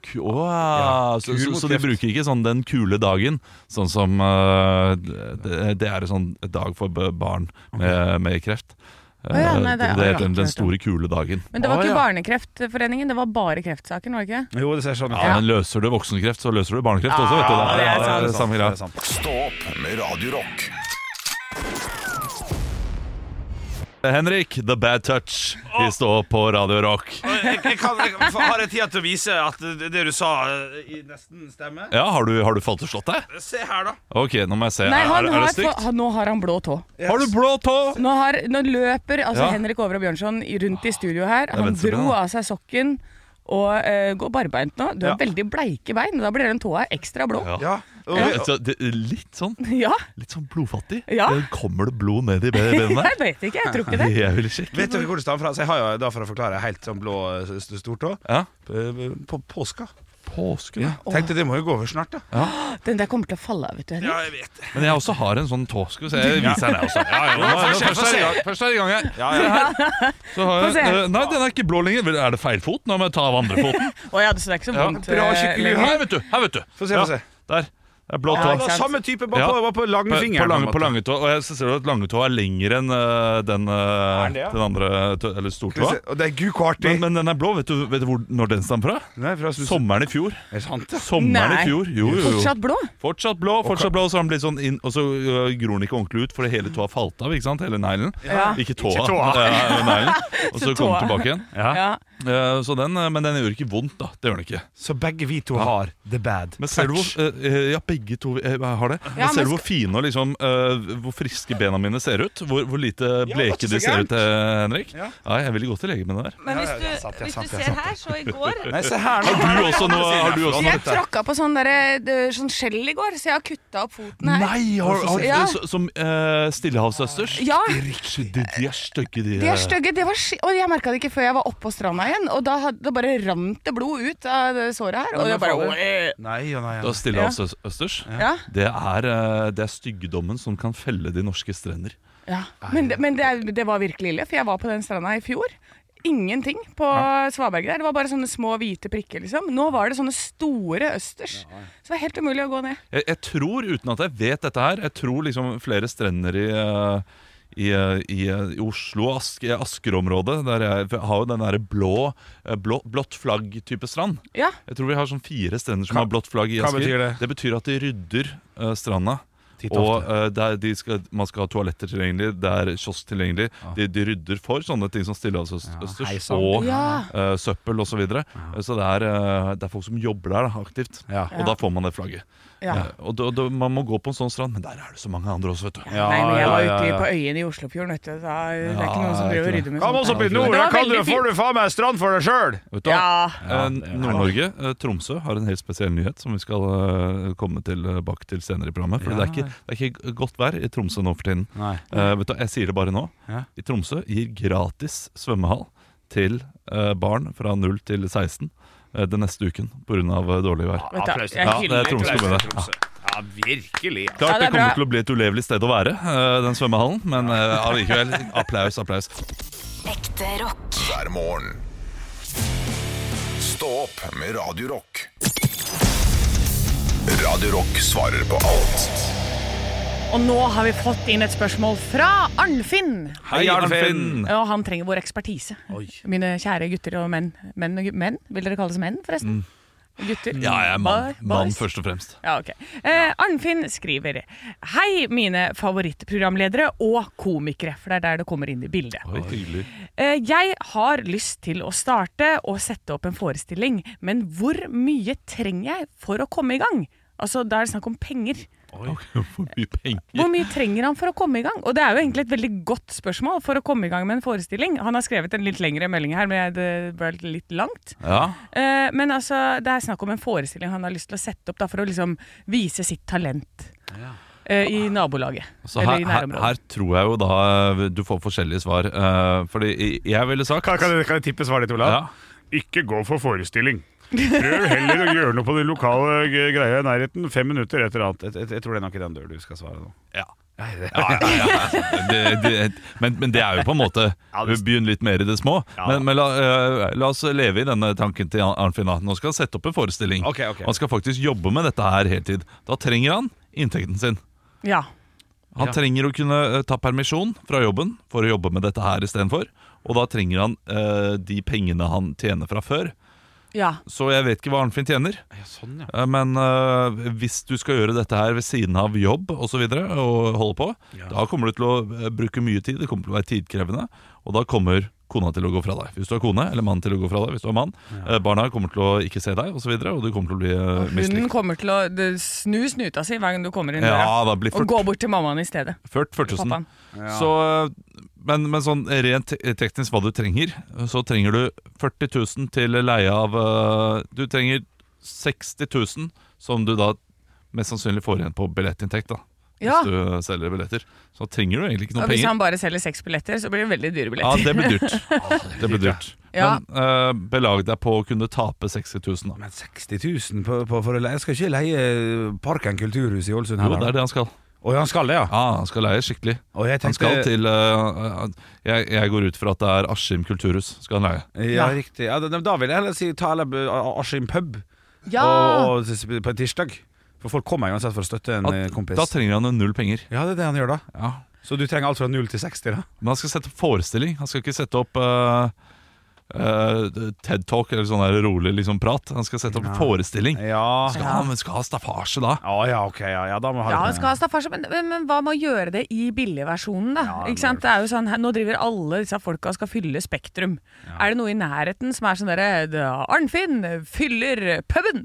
Speaker 4: Ku- Åh, så,
Speaker 2: kur
Speaker 4: så,
Speaker 2: mot
Speaker 4: så de
Speaker 2: kreft.
Speaker 4: bruker ikke sånn 'den kule dagen', sånn som eh, det, det er en sånn dag for b- barn med, med kreft. Eh,
Speaker 3: ja, nei, det
Speaker 4: det
Speaker 3: er- ja,
Speaker 4: heter den, den
Speaker 3: klart,
Speaker 4: store kule dagen.
Speaker 3: Men det var
Speaker 2: Å,
Speaker 3: ikke
Speaker 2: ja.
Speaker 3: Barnekreftforeningen, det var bare kreftsaken, var det ikke?
Speaker 2: Jo, det ser sånn ut.
Speaker 4: Ja, men løser du voksenkreft, så løser du barnekreft også, vet du.
Speaker 3: Ja, det er sånn.
Speaker 4: det
Speaker 3: sant.
Speaker 4: er samme greia.
Speaker 2: Det er sant.
Speaker 1: Stå opp med Radio Rock.
Speaker 4: Henrik, The Bad Touch. Vi står på Radio Rock.
Speaker 2: jeg, jeg kan, jeg, for- har jeg tid til å vise at det, det du sa, eh, i nesten stemmer?
Speaker 4: Ja, har du, har du falt og slått deg?
Speaker 2: Se her, da.
Speaker 4: Ok, nå må jeg se.
Speaker 3: Nei, han
Speaker 4: er, er
Speaker 3: har,
Speaker 4: det stygt?
Speaker 3: få- han- nå har han blå tå.
Speaker 4: Har du blå tå?
Speaker 3: Nå, har, nå løper altså
Speaker 4: Ja.
Speaker 3: Henrik Over og Bjørnson i- rundt i studio her. Han
Speaker 4: venstrebein,
Speaker 3: dro
Speaker 4: da.
Speaker 3: av seg sokken og eh, går barbeint nå. Du har
Speaker 2: Ja.
Speaker 3: veldig bleike bein, og da blir den tåa ekstra blå. Ja.
Speaker 2: Ja. Og,
Speaker 4: Så det, litt sånn Litt sånn blodfattig.
Speaker 3: Ja.
Speaker 4: Det Kommer det blod ned i benene
Speaker 3: Jeg vet ikke, jeg tror ikke
Speaker 4: der?
Speaker 3: det.
Speaker 4: Jeg vil sjekke.
Speaker 2: Vet dere hvor det stammer fra? Så jeg har jo da for å forklare helt sånn blå eh, s- stortå.
Speaker 4: Ja.
Speaker 2: På, på påska.
Speaker 4: Påsken, ja.
Speaker 2: Tenkte det må jo gå over snart, da.
Speaker 3: Den der kommer til å falle av, vet du, Henrik.
Speaker 2: jeg vet det.
Speaker 4: Men jeg også har en sånn tå. Skal vi se, jeg viser den her også. Ja, ja, nå, nå,
Speaker 2: Få se,
Speaker 4: først,
Speaker 2: få
Speaker 4: er
Speaker 2: se.
Speaker 4: det i gang- først er det i gang her.
Speaker 2: Ja, ja.
Speaker 4: Så har
Speaker 3: Få se.
Speaker 4: jeg, eh, nei, den er ikke blå lenger. Vel, Er det feil fot? Nå må jeg ta av andre foten.
Speaker 3: Å ja, så det er ikke så
Speaker 4: Ja.
Speaker 3: vondt.
Speaker 2: Bra,
Speaker 3: eh,
Speaker 2: skikkelig
Speaker 3: lenger.
Speaker 4: Her, vet du. Her, vet du.
Speaker 2: Få se, få
Speaker 4: Ja,
Speaker 2: se.
Speaker 4: Der. Det er blå
Speaker 2: Ja,
Speaker 4: tå.
Speaker 2: det var samme type, bare
Speaker 4: Ja.
Speaker 2: på, bare på
Speaker 4: På, på,
Speaker 2: langfingeren.
Speaker 4: lange, på langetå. Og jeg så ser du at langetå er lengre enn eh, den, eh,
Speaker 2: det, ja?
Speaker 4: den andre tå, Eller
Speaker 2: Skal vi
Speaker 4: stortåa.
Speaker 2: se. Og det er gukartig.
Speaker 4: Men, men den er blå. Vet du, vet du hvor, når den stammer fra?
Speaker 2: Nei, fra Snusen.
Speaker 4: Sommeren i fjor.
Speaker 2: Er det sant, da?
Speaker 4: Sommeren
Speaker 3: Nei.
Speaker 4: i fjor. Jo, jo, jo.
Speaker 3: Fortsatt blå?
Speaker 4: Fortsatt blå, fortsatt blå, så han blir sånn inn, og så øh, gror den ikke ordentlig ut, for hele tåa falt av, ikke sant? Hele neglen.
Speaker 3: Ja.
Speaker 4: Ikke tåa.
Speaker 2: Ikke tåa.
Speaker 4: Ja, neglen. Og så
Speaker 3: Ikke tåa.
Speaker 4: kom den tilbake igjen.
Speaker 3: Ja.
Speaker 4: Eh, så den, eh, men den gjør ikke vondt, da. Det gjør den ikke.
Speaker 2: Så begge vi to har the bad
Speaker 4: Men ser du hvor eh, Ja, begge to eh, har det. Men
Speaker 3: Ja,
Speaker 4: ser
Speaker 3: men
Speaker 4: du hvor fine og liksom eh, Hvor friske bena mine ser ut? Hvor, hvor lite
Speaker 2: det er
Speaker 4: bleke
Speaker 2: ikke så
Speaker 4: de ser
Speaker 2: gærent.
Speaker 4: ut, eh, Henrik? Ja. jeg ville gått til lege med det der.
Speaker 8: Men hvis
Speaker 2: ja,
Speaker 8: du,
Speaker 2: det er sant, det er
Speaker 8: hvis
Speaker 2: sant,
Speaker 8: du
Speaker 2: det er
Speaker 8: ser her, så i går
Speaker 2: Nei, se her, da.
Speaker 4: Har du også noe? Har du også
Speaker 3: Jeg
Speaker 4: noe?
Speaker 3: tråkka på sånn, der, eh, sånn skjell i går, så jeg har kutta opp foten her.
Speaker 4: Nei! Har, har,
Speaker 3: Ja.
Speaker 4: så- Som uh, stillehavsøsters?
Speaker 3: Ja.
Speaker 4: Riktig, De, de er stygge, de.
Speaker 3: De
Speaker 4: eh.
Speaker 3: er stygge. Det var ski og jeg merka det ikke før jeg var oppå stranda igjen. Og da, had- da bare rant det blod ut av det såret her. Og
Speaker 2: Ja,
Speaker 3: jeg
Speaker 2: men
Speaker 3: bare,
Speaker 2: fader.
Speaker 3: «Åh!»
Speaker 2: Nei og nei.
Speaker 4: Da
Speaker 2: og nei.
Speaker 4: stiller
Speaker 3: Ja.
Speaker 4: altså østers.
Speaker 3: ja,
Speaker 4: Det er, eh, det er styggedommen som kan felle de norske strender.
Speaker 3: ja. Men, det- men det, er- det var virkelig ille, for jeg var på den stranda i fjor. Ingenting på Svaberget der. Det var bare sånne små hvite prikker, liksom. Nå var det sånne store østers. Så det var helt umulig å gå ned.
Speaker 4: Jeg, jeg tror, uten at jeg vet dette her, jeg tror liksom flere strender i eh, i, eh, i, eh, i Oslo og Ask, i Asker-området Der jeg for jeg har jo den der blå, eh, blå Blått flagg-type strand
Speaker 3: Ja.
Speaker 4: Jeg tror vi har sånn fire strender som
Speaker 2: Hva-
Speaker 4: har blått flagg i
Speaker 2: hva
Speaker 4: Asker
Speaker 2: betyr det?
Speaker 4: betyr at de rydder eh, stranda
Speaker 2: Titt og
Speaker 4: Og eh, det er- de skal, man skal ha toaletter tilgjengelig, det er kiosk tilgjengelig. De, de rydder for sånne ting som stillehavsøsters
Speaker 2: heisann.
Speaker 4: og
Speaker 3: Ja.
Speaker 4: eh, søppel osv. Så, videre. så det, er, eh, det er folk som jobber der da, aktivt.
Speaker 2: Ja.
Speaker 4: Og da får man det flagget.
Speaker 3: Ja.
Speaker 4: Eh, og da, da, Man må gå på en sånn strand, men der er det så mange andre også, vet du.
Speaker 2: Ja,
Speaker 3: Nei, men jeg
Speaker 2: ja,
Speaker 3: var
Speaker 2: ja,
Speaker 3: ute
Speaker 2: ja.
Speaker 3: på Øyen i Oslofjorden, vet du. Da, det er
Speaker 4: Ja,
Speaker 3: ikke noen som
Speaker 4: det er
Speaker 3: driver og
Speaker 4: ikke
Speaker 3: rydder med
Speaker 2: Kom
Speaker 3: sånt.
Speaker 2: oss opp i
Speaker 3: Det
Speaker 2: nord,
Speaker 3: var
Speaker 2: da kan du,
Speaker 3: veldig fint.
Speaker 2: får du faen meg strand for deg sjøl!
Speaker 4: Vet du hva?
Speaker 3: Ja.
Speaker 4: Eh, Nord-Norge, eh, Tromsø, har en helt spesiell nyhet som vi skal eh, komme tilbake til senere i programmet. For det, er ikke, det er ikke godt vær i Tromsø nå for tiden.
Speaker 2: Nei.
Speaker 4: Eh, vet du, hva, jeg sier det bare nå.
Speaker 2: Ja.
Speaker 4: I Tromsø gir gratis svømmehall til eh, barn fra 0 til 16 eh, den neste uken pga. eh, dårlig vær.
Speaker 3: Vet du,
Speaker 2: Applaus til
Speaker 3: jeg
Speaker 4: Ja, det
Speaker 3: hyller
Speaker 4: er Tromsø
Speaker 3: Tromsø.
Speaker 4: kommune. Ja.
Speaker 2: Tromsø. Ja, virkelig. Ja.
Speaker 3: Ja,
Speaker 4: Klart
Speaker 3: det
Speaker 4: det,
Speaker 3: er bra.
Speaker 4: kommer til å bli et ulevelig sted å være, eh, den svømmehallen, men eh, allikevel. Applaus, applaus.
Speaker 6: Ekte rock.
Speaker 1: hver morgen. Stå opp med Radio Rock. Radio Rock svarer på alt.
Speaker 3: Og nå har vi fått inn et spørsmål fra Arnfinn.
Speaker 2: Hei, Arnfinn.
Speaker 3: Og han trenger vår ekspertise.
Speaker 2: Oi.
Speaker 3: Mine kjære gutter og menn. Menn, og gu- menn? Vil dere kalles menn, forresten? Gutter?
Speaker 4: Mm. Ja, jeg er mann,
Speaker 3: Boy-
Speaker 4: mann
Speaker 3: boys?
Speaker 4: først og fremst.
Speaker 3: Ja, ok. Eh, Arnfinn skriver Hei, mine favorittprogramledere og komikere, for det er der det kommer inn i bildet.
Speaker 4: Oi, hyggelig.
Speaker 3: Eh, Jeg har lyst til å starte og sette opp en forestilling, men hvor mye trenger jeg for å komme i gang? Altså, Da er det snakk om penger.
Speaker 4: For mye penger.
Speaker 3: Hvor mye trenger han for å komme i gang? Og det er jo egentlig et veldig godt spørsmål for å komme i gang med en forestilling. Han har skrevet en litt lengre melding her, men det ble litt langt.
Speaker 4: Ja,
Speaker 3: Eh, Men altså, det er snakk om en forestilling han har lyst til å sette opp da, for å liksom vise sitt talent. eh, I nabolaget.
Speaker 4: så
Speaker 3: eller
Speaker 4: her,
Speaker 3: i
Speaker 4: her,
Speaker 3: nærområdet.
Speaker 4: her tror jeg jo da eh, du får forskjellige svar. eh, Fordi jeg ville sagt
Speaker 8: Kan, kan, jeg- kan jeg tippe svaret ditt, Olav?
Speaker 4: Ja.
Speaker 8: Ikke gå for forestilling. Prøv heller å gjøre noe på den lokale g- greia i nærheten. Fem minutter et eller annet.
Speaker 2: Jeg, jeg, jeg tror det er nok i den dør du skal svare nå.
Speaker 4: Ja. Ja, ja, ja. Det, det, men, men det er jo på en måte Begynn litt mer i det små. Men, men la, eh, la oss leve i denne tanken til Ar- Arnfinn. da. Nå skal han sette opp en forestilling.
Speaker 2: Ok, ok.
Speaker 4: Han skal faktisk jobbe med dette her heltid. Da trenger han inntekten sin.
Speaker 3: Ja.
Speaker 4: Han
Speaker 2: Ja.
Speaker 4: trenger å kunne eh, ta permisjon fra jobben for å jobbe med dette her istedenfor. Og da trenger han eh, de pengene han tjener fra før.
Speaker 3: ja.
Speaker 4: Så jeg vet ikke hva Arnfinn tjener.
Speaker 2: Ja, sånn, ja.
Speaker 4: Eh, Men eh, hvis du skal gjøre dette her ved siden av jobb og så videre, og holde på, da kommer du til å eh, bruke mye tid, det kommer til å være tidkrevende, og da kommer kona til å gå fra deg. Hvis du har kone, eller mannen til å gå fra deg hvis du er mann. Eh, Barna kommer til å ikke se deg, og så videre, og du kommer til å bli eh,
Speaker 3: Hunden
Speaker 4: mislikt.
Speaker 3: kommer til å det- snu snuta si hver gang du kommer inn døra.
Speaker 4: Ja, da blir
Speaker 3: Og
Speaker 4: ført,
Speaker 3: gå bort til mammaen i stedet.
Speaker 4: ført 4000.
Speaker 3: Pappaen.
Speaker 4: Så, eh, men, men sånn rent te- teknisk hva du trenger, så trenger du 40 000 til leie av eh, Du trenger 60 000, som du da mest sannsynlig får igjen på billettinntekt. da
Speaker 3: Ja.
Speaker 4: Hvis du eh, selger billetter. Så trenger du egentlig ikke
Speaker 3: Og
Speaker 4: noe
Speaker 3: hvis
Speaker 4: penger.
Speaker 3: han bare selger seks billetter, så blir det veldig dyre
Speaker 4: Ja,
Speaker 3: billetter.
Speaker 4: det blir dyrt. Altså, Det blir dyrt.
Speaker 3: Ja.
Speaker 4: Men eh, belag deg på å kunne tape 60 000. Da.
Speaker 2: Men 60 000 på, på, for å leie Jeg skal ikke leie eh, Parken kulturhus i Ålesund
Speaker 4: Jo,
Speaker 2: her.
Speaker 4: det er det han skal.
Speaker 2: Å, han skal det, ja?
Speaker 4: Ja, Han skal leie skikkelig.
Speaker 2: Og jeg
Speaker 4: Han
Speaker 2: tenkte,
Speaker 4: skal til eh, jeg, jeg går ut fra at det er Askim kulturhus skal han leie.
Speaker 2: Ja, riktig. Ja, da, da vil jeg heller si ta eller, eh, Askim pub
Speaker 3: Ja!
Speaker 2: og, og, på en tirsdag. For folk kommer uansett for å støtte en eh,
Speaker 4: At,
Speaker 2: kompis.
Speaker 4: da trenger han jo null penger.
Speaker 2: ja, det er det han gjør, da.
Speaker 4: Ja
Speaker 2: Så du trenger alt fra 0 til 60, da?
Speaker 4: Men han skal sette opp forestilling. Han skal ikke sette opp eh, eh, TED Talk eller sånn der rolig liksom prat. Han skal sette opp forestilling.
Speaker 2: Ja.
Speaker 4: Skal han men skal ha staffasje da?
Speaker 2: Ja, ja, ok, ja, ja, da må
Speaker 3: Ja,
Speaker 2: ha
Speaker 3: han skal ha staffasje, men, men, men hva med å gjøre det i billigversjonen, da? ikke sant? Det er jo sånn, her- Nå driver alle disse folka og skal fylle Spektrum. Er det noe i nærheten som er sånn derre "Da, Arnfinn fyller puben!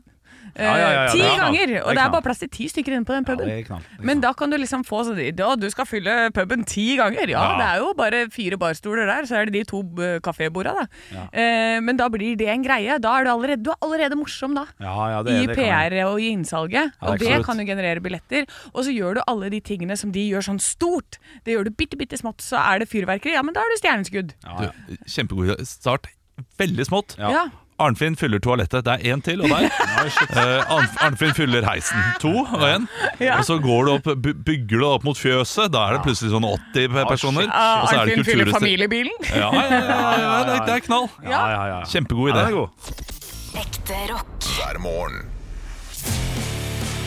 Speaker 3: eh,
Speaker 2: Ja, ja, ja, ja,
Speaker 3: ti
Speaker 2: det er knall.
Speaker 3: ganger!
Speaker 2: Det er
Speaker 3: Og det er
Speaker 2: knall.
Speaker 3: bare plass til ti stykker inne på den puben.
Speaker 2: det er knall, det er
Speaker 3: Men da kan du liksom få sånn Da, du skal fylle puben ti ganger! Ja, det er jo bare fire barstoler der, så er det de to eh, kaféborda, da. Eh, men da blir det en greie. Da er du allerede, du er allerede morsom, da.
Speaker 2: Ja, ja, det-
Speaker 3: I
Speaker 2: det kan jeg.
Speaker 3: PR og i innsalget.
Speaker 2: Ja,
Speaker 3: og det
Speaker 2: absolutt.
Speaker 3: kan jo generere billetter. Og så gjør du alle de tingene som de gjør sånn stort. Det gjør du bitte, bitte smått, så er det fyrverkeri. Ja, men da er du stjerneskudd. Ja.
Speaker 4: Du, kjempegod idé. start. Veldig smått.
Speaker 3: Ja.
Speaker 4: Arnfinn fyller toalettet. Det er én til, og der. Eh, Arn- Arnfinn fyller heisen. To og én.
Speaker 3: Ja.
Speaker 4: Og så går du opp, by- bygger du deg opp mot fjøset. Da er det plutselig sånn 80 personer. Og så er det
Speaker 3: Ah, Arnfinn fyller
Speaker 4: kulturhuset.
Speaker 3: familiebilen.
Speaker 4: Ja, ja, ja, ja, ja, det er- det er knall.
Speaker 3: Ja.
Speaker 2: ja, ja.
Speaker 4: Kjempegod
Speaker 2: Ja,
Speaker 4: idé.
Speaker 2: den er god.
Speaker 6: Ekte rock.
Speaker 1: hver morgen.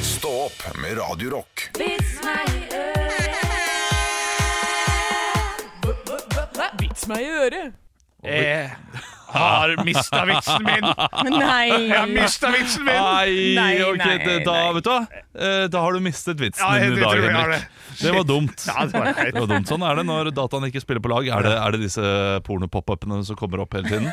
Speaker 1: Stå opp med Radio Rock.
Speaker 3: Vits meg i øret.
Speaker 2: Eh, Har mista vitsen min! Jeg har
Speaker 3: Nei!
Speaker 2: mista vitsen min!
Speaker 4: Nei,
Speaker 3: Nei,
Speaker 4: ok,
Speaker 3: nei,
Speaker 4: det- da,
Speaker 3: nei.
Speaker 4: vet du hva? Eh, Da har du mistet vitsen
Speaker 2: Ja, jeg
Speaker 4: din i
Speaker 2: tror
Speaker 4: dag,
Speaker 2: jeg har
Speaker 4: Henrik.
Speaker 2: det.
Speaker 4: Det var dumt.
Speaker 2: Ja, det var
Speaker 4: Det var dumt. Sånn er det når dataen ikke spiller på lag. Er det, er det disse porno-pop-upene som kommer opp hele tiden?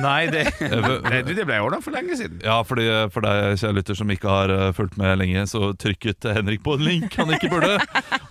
Speaker 2: Nei, det,
Speaker 4: Eh,
Speaker 2: det ble ordna for lenge siden.
Speaker 4: Ja, fordi eh, for deg, kjære lytter, som ikke har eh, fulgt med lenge, så trykket Henrik på en link han ikke burde.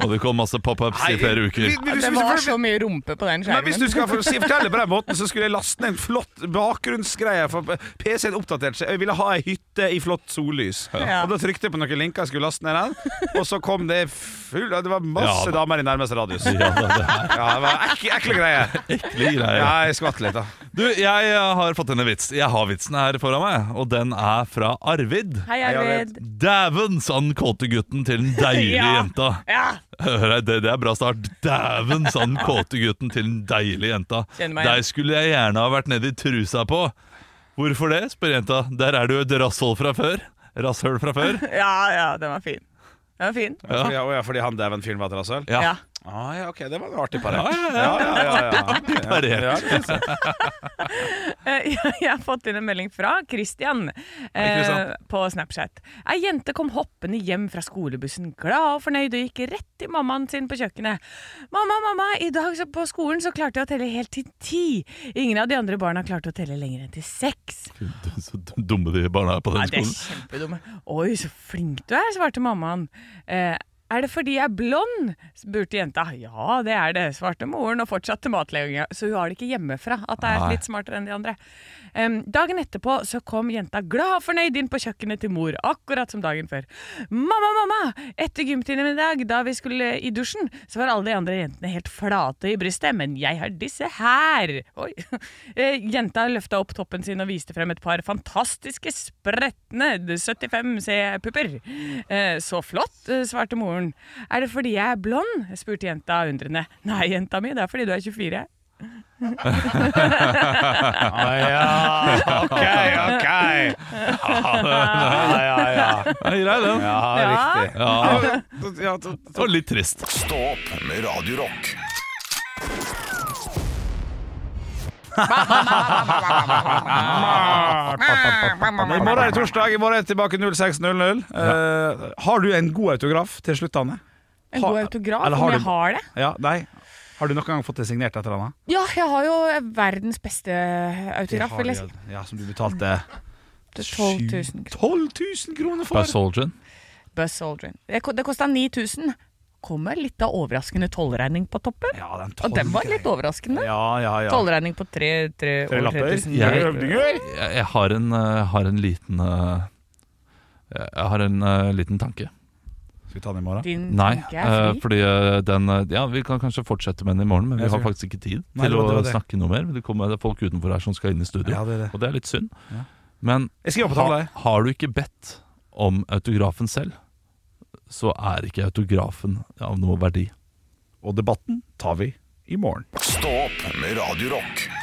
Speaker 4: Og det kom masse pop-ups i flere uker.
Speaker 2: Men hvis
Speaker 3: Det
Speaker 2: du-
Speaker 3: var så mye rumpe på den
Speaker 2: Men hvis du
Speaker 3: skjermen.
Speaker 2: skal for- si- fortelle på den måten, så skulle jeg laste ned en flott bakgrunnsgreie. For PC-en oppdaterte seg. Jeg ville ha ei hytte i flott sollys.
Speaker 3: Ja.
Speaker 2: Og Da trykte jeg på noen linker jeg skulle laste ned den, og så kom det full Det var masse
Speaker 4: Ja, da.
Speaker 2: damer i nærmeste radius. Ja,
Speaker 4: Ja, det er
Speaker 2: det var ekle, ekle greier.
Speaker 4: ekle greier.
Speaker 2: Ja, jeg skvatt litt, da.
Speaker 4: Du, jeg eh, har fått inn en vits. Jeg har vitsen her foran meg, og den er fra Arvid.
Speaker 3: Hei, Arvid.
Speaker 4: Dæven, sa den kåte gutten til den deilige
Speaker 3: Ja.
Speaker 4: jenta.
Speaker 3: Ja,
Speaker 4: Hør her, det, det er bra start. Dæven, sa den kåte gutten til den deilige jenta.
Speaker 3: Kjenner meg igjen.
Speaker 4: Deg skulle jeg gjerne ha vært nedi trusa på. Hvorfor det, spør jenta. Der er du et rasshold fra før. Rasshøl fra før.
Speaker 3: ja, ja, den var fin. Den var fin.
Speaker 2: Ja. Fordi, å ja, fordi han dæven fyren var et rasshøl?
Speaker 4: Ja.
Speaker 3: Ja.
Speaker 2: Ah, ja, ok, det var en artig paré.
Speaker 4: Ja, ja, ja.
Speaker 2: Ja, ja, ja, ja.
Speaker 4: Parert.
Speaker 2: Ja, det synes jeg.
Speaker 3: Eh, Jeg har fått inn en melding fra Christian eh,
Speaker 4: Christian.
Speaker 3: på Snapchat. Ei jente kom hoppende hjem fra skolebussen, glad og fornøyd, og gikk rett til mammaen sin på kjøkkenet. 'Mamma, mamma, i dag så på skolen så klarte jeg å telle helt til ti.' Ingen av de andre barna klarte å telle lenger enn til seks.
Speaker 4: Så dumme de barna er på
Speaker 3: Ja,
Speaker 4: den
Speaker 3: det er
Speaker 4: skolen.
Speaker 3: kjempedumme. 'Oi, så flink du er', svarte mammaen. Eh, er det fordi jeg er blond? spurte jenta. Ja, det er det, svarte moren og fortsatte matlegginga. Så hun har det ikke hjemmefra at det er
Speaker 4: Nei.
Speaker 3: litt smartere enn de andre. Em, dagen etterpå så kom jenta glad og fornøyd inn på kjøkkenet til mor, akkurat som dagen før. 'Mamma, mamma! Etter gymtimen i dag, da vi skulle i dusjen, så var alle de andre jentene helt flate i brystet, men jeg har disse her!' Oi. Eh, jenta løfta opp toppen sin og viste frem et par fantastiske, spretne 75C-pupper. Eh, 'Så flott', eh, svarte moren. 'Er det fordi jeg er blond?' spurte jenta undrende. 'Nei, jenta mi, det er fordi du er 24'.
Speaker 2: Ah, ja. Ok, ok. Ja, ja, ja.
Speaker 4: Ja, grei, den.
Speaker 2: Ja,
Speaker 3: Ja.
Speaker 2: riktig.
Speaker 4: Ja,
Speaker 2: Ja, t-
Speaker 4: det var litt trist.
Speaker 1: Stå opp med Radio Rock.
Speaker 2: I morgen er det torsdag. I morgen er jeg tilbake 06.00. Eh, har du en god autograf til slutt, Anne?
Speaker 3: En
Speaker 2: Har-
Speaker 3: god autograf,
Speaker 2: eller har
Speaker 3: om
Speaker 2: du-
Speaker 3: jeg har det?
Speaker 2: Ja, nei. Har du noen gang fått det signert et eller annet?
Speaker 3: Ja, jeg har jo verdens beste autograf.
Speaker 2: Har
Speaker 3: Vil
Speaker 2: du,
Speaker 3: jeg si.
Speaker 2: ja, som du betalte
Speaker 3: 12 000 kroner.
Speaker 2: 12 000 kroner for?
Speaker 4: Buzz Aldrin.
Speaker 3: Buzz Aldrin. Det, ko- det kosta 9000. Kommer litt av overraskende tollregning på toppen.
Speaker 2: Ja, den
Speaker 3: Og den var litt overraskende.
Speaker 2: Ja, ja, ja.
Speaker 3: Tollregning på tre, tre,
Speaker 2: Tre
Speaker 3: over
Speaker 2: lapper.
Speaker 3: 3000.
Speaker 4: Ja.
Speaker 2: Tre øvninger.
Speaker 4: Jeg, jeg har, en, eh, har en liten eh, Jeg har en eh, liten tanke.
Speaker 2: Skal vi ta den i morgen?
Speaker 3: Din
Speaker 4: Nei,
Speaker 3: tanke Mm, er
Speaker 4: eh,
Speaker 3: fri.
Speaker 4: fordi eh, den eh, Ja, vi kan kanskje fortsette med den i morgen, men vi
Speaker 2: Jeg
Speaker 4: har
Speaker 2: tror-
Speaker 4: faktisk ikke tid
Speaker 2: Nei, det
Speaker 4: til
Speaker 2: var- det
Speaker 4: å
Speaker 2: var det.
Speaker 4: snakke noe mer. Det kommer folk utenfor her som skal inn i studio,
Speaker 2: Ja, det er det.
Speaker 4: og det er litt synd.
Speaker 2: Ja.
Speaker 4: Men
Speaker 2: Jeg skriver på
Speaker 4: ha,
Speaker 2: tavla. jeg.
Speaker 4: har du ikke bedt om autografen selv, så er ikke autografen av noe verdi.
Speaker 2: Og debatten tar vi i morgen.
Speaker 1: Stå opp med Radio Rock.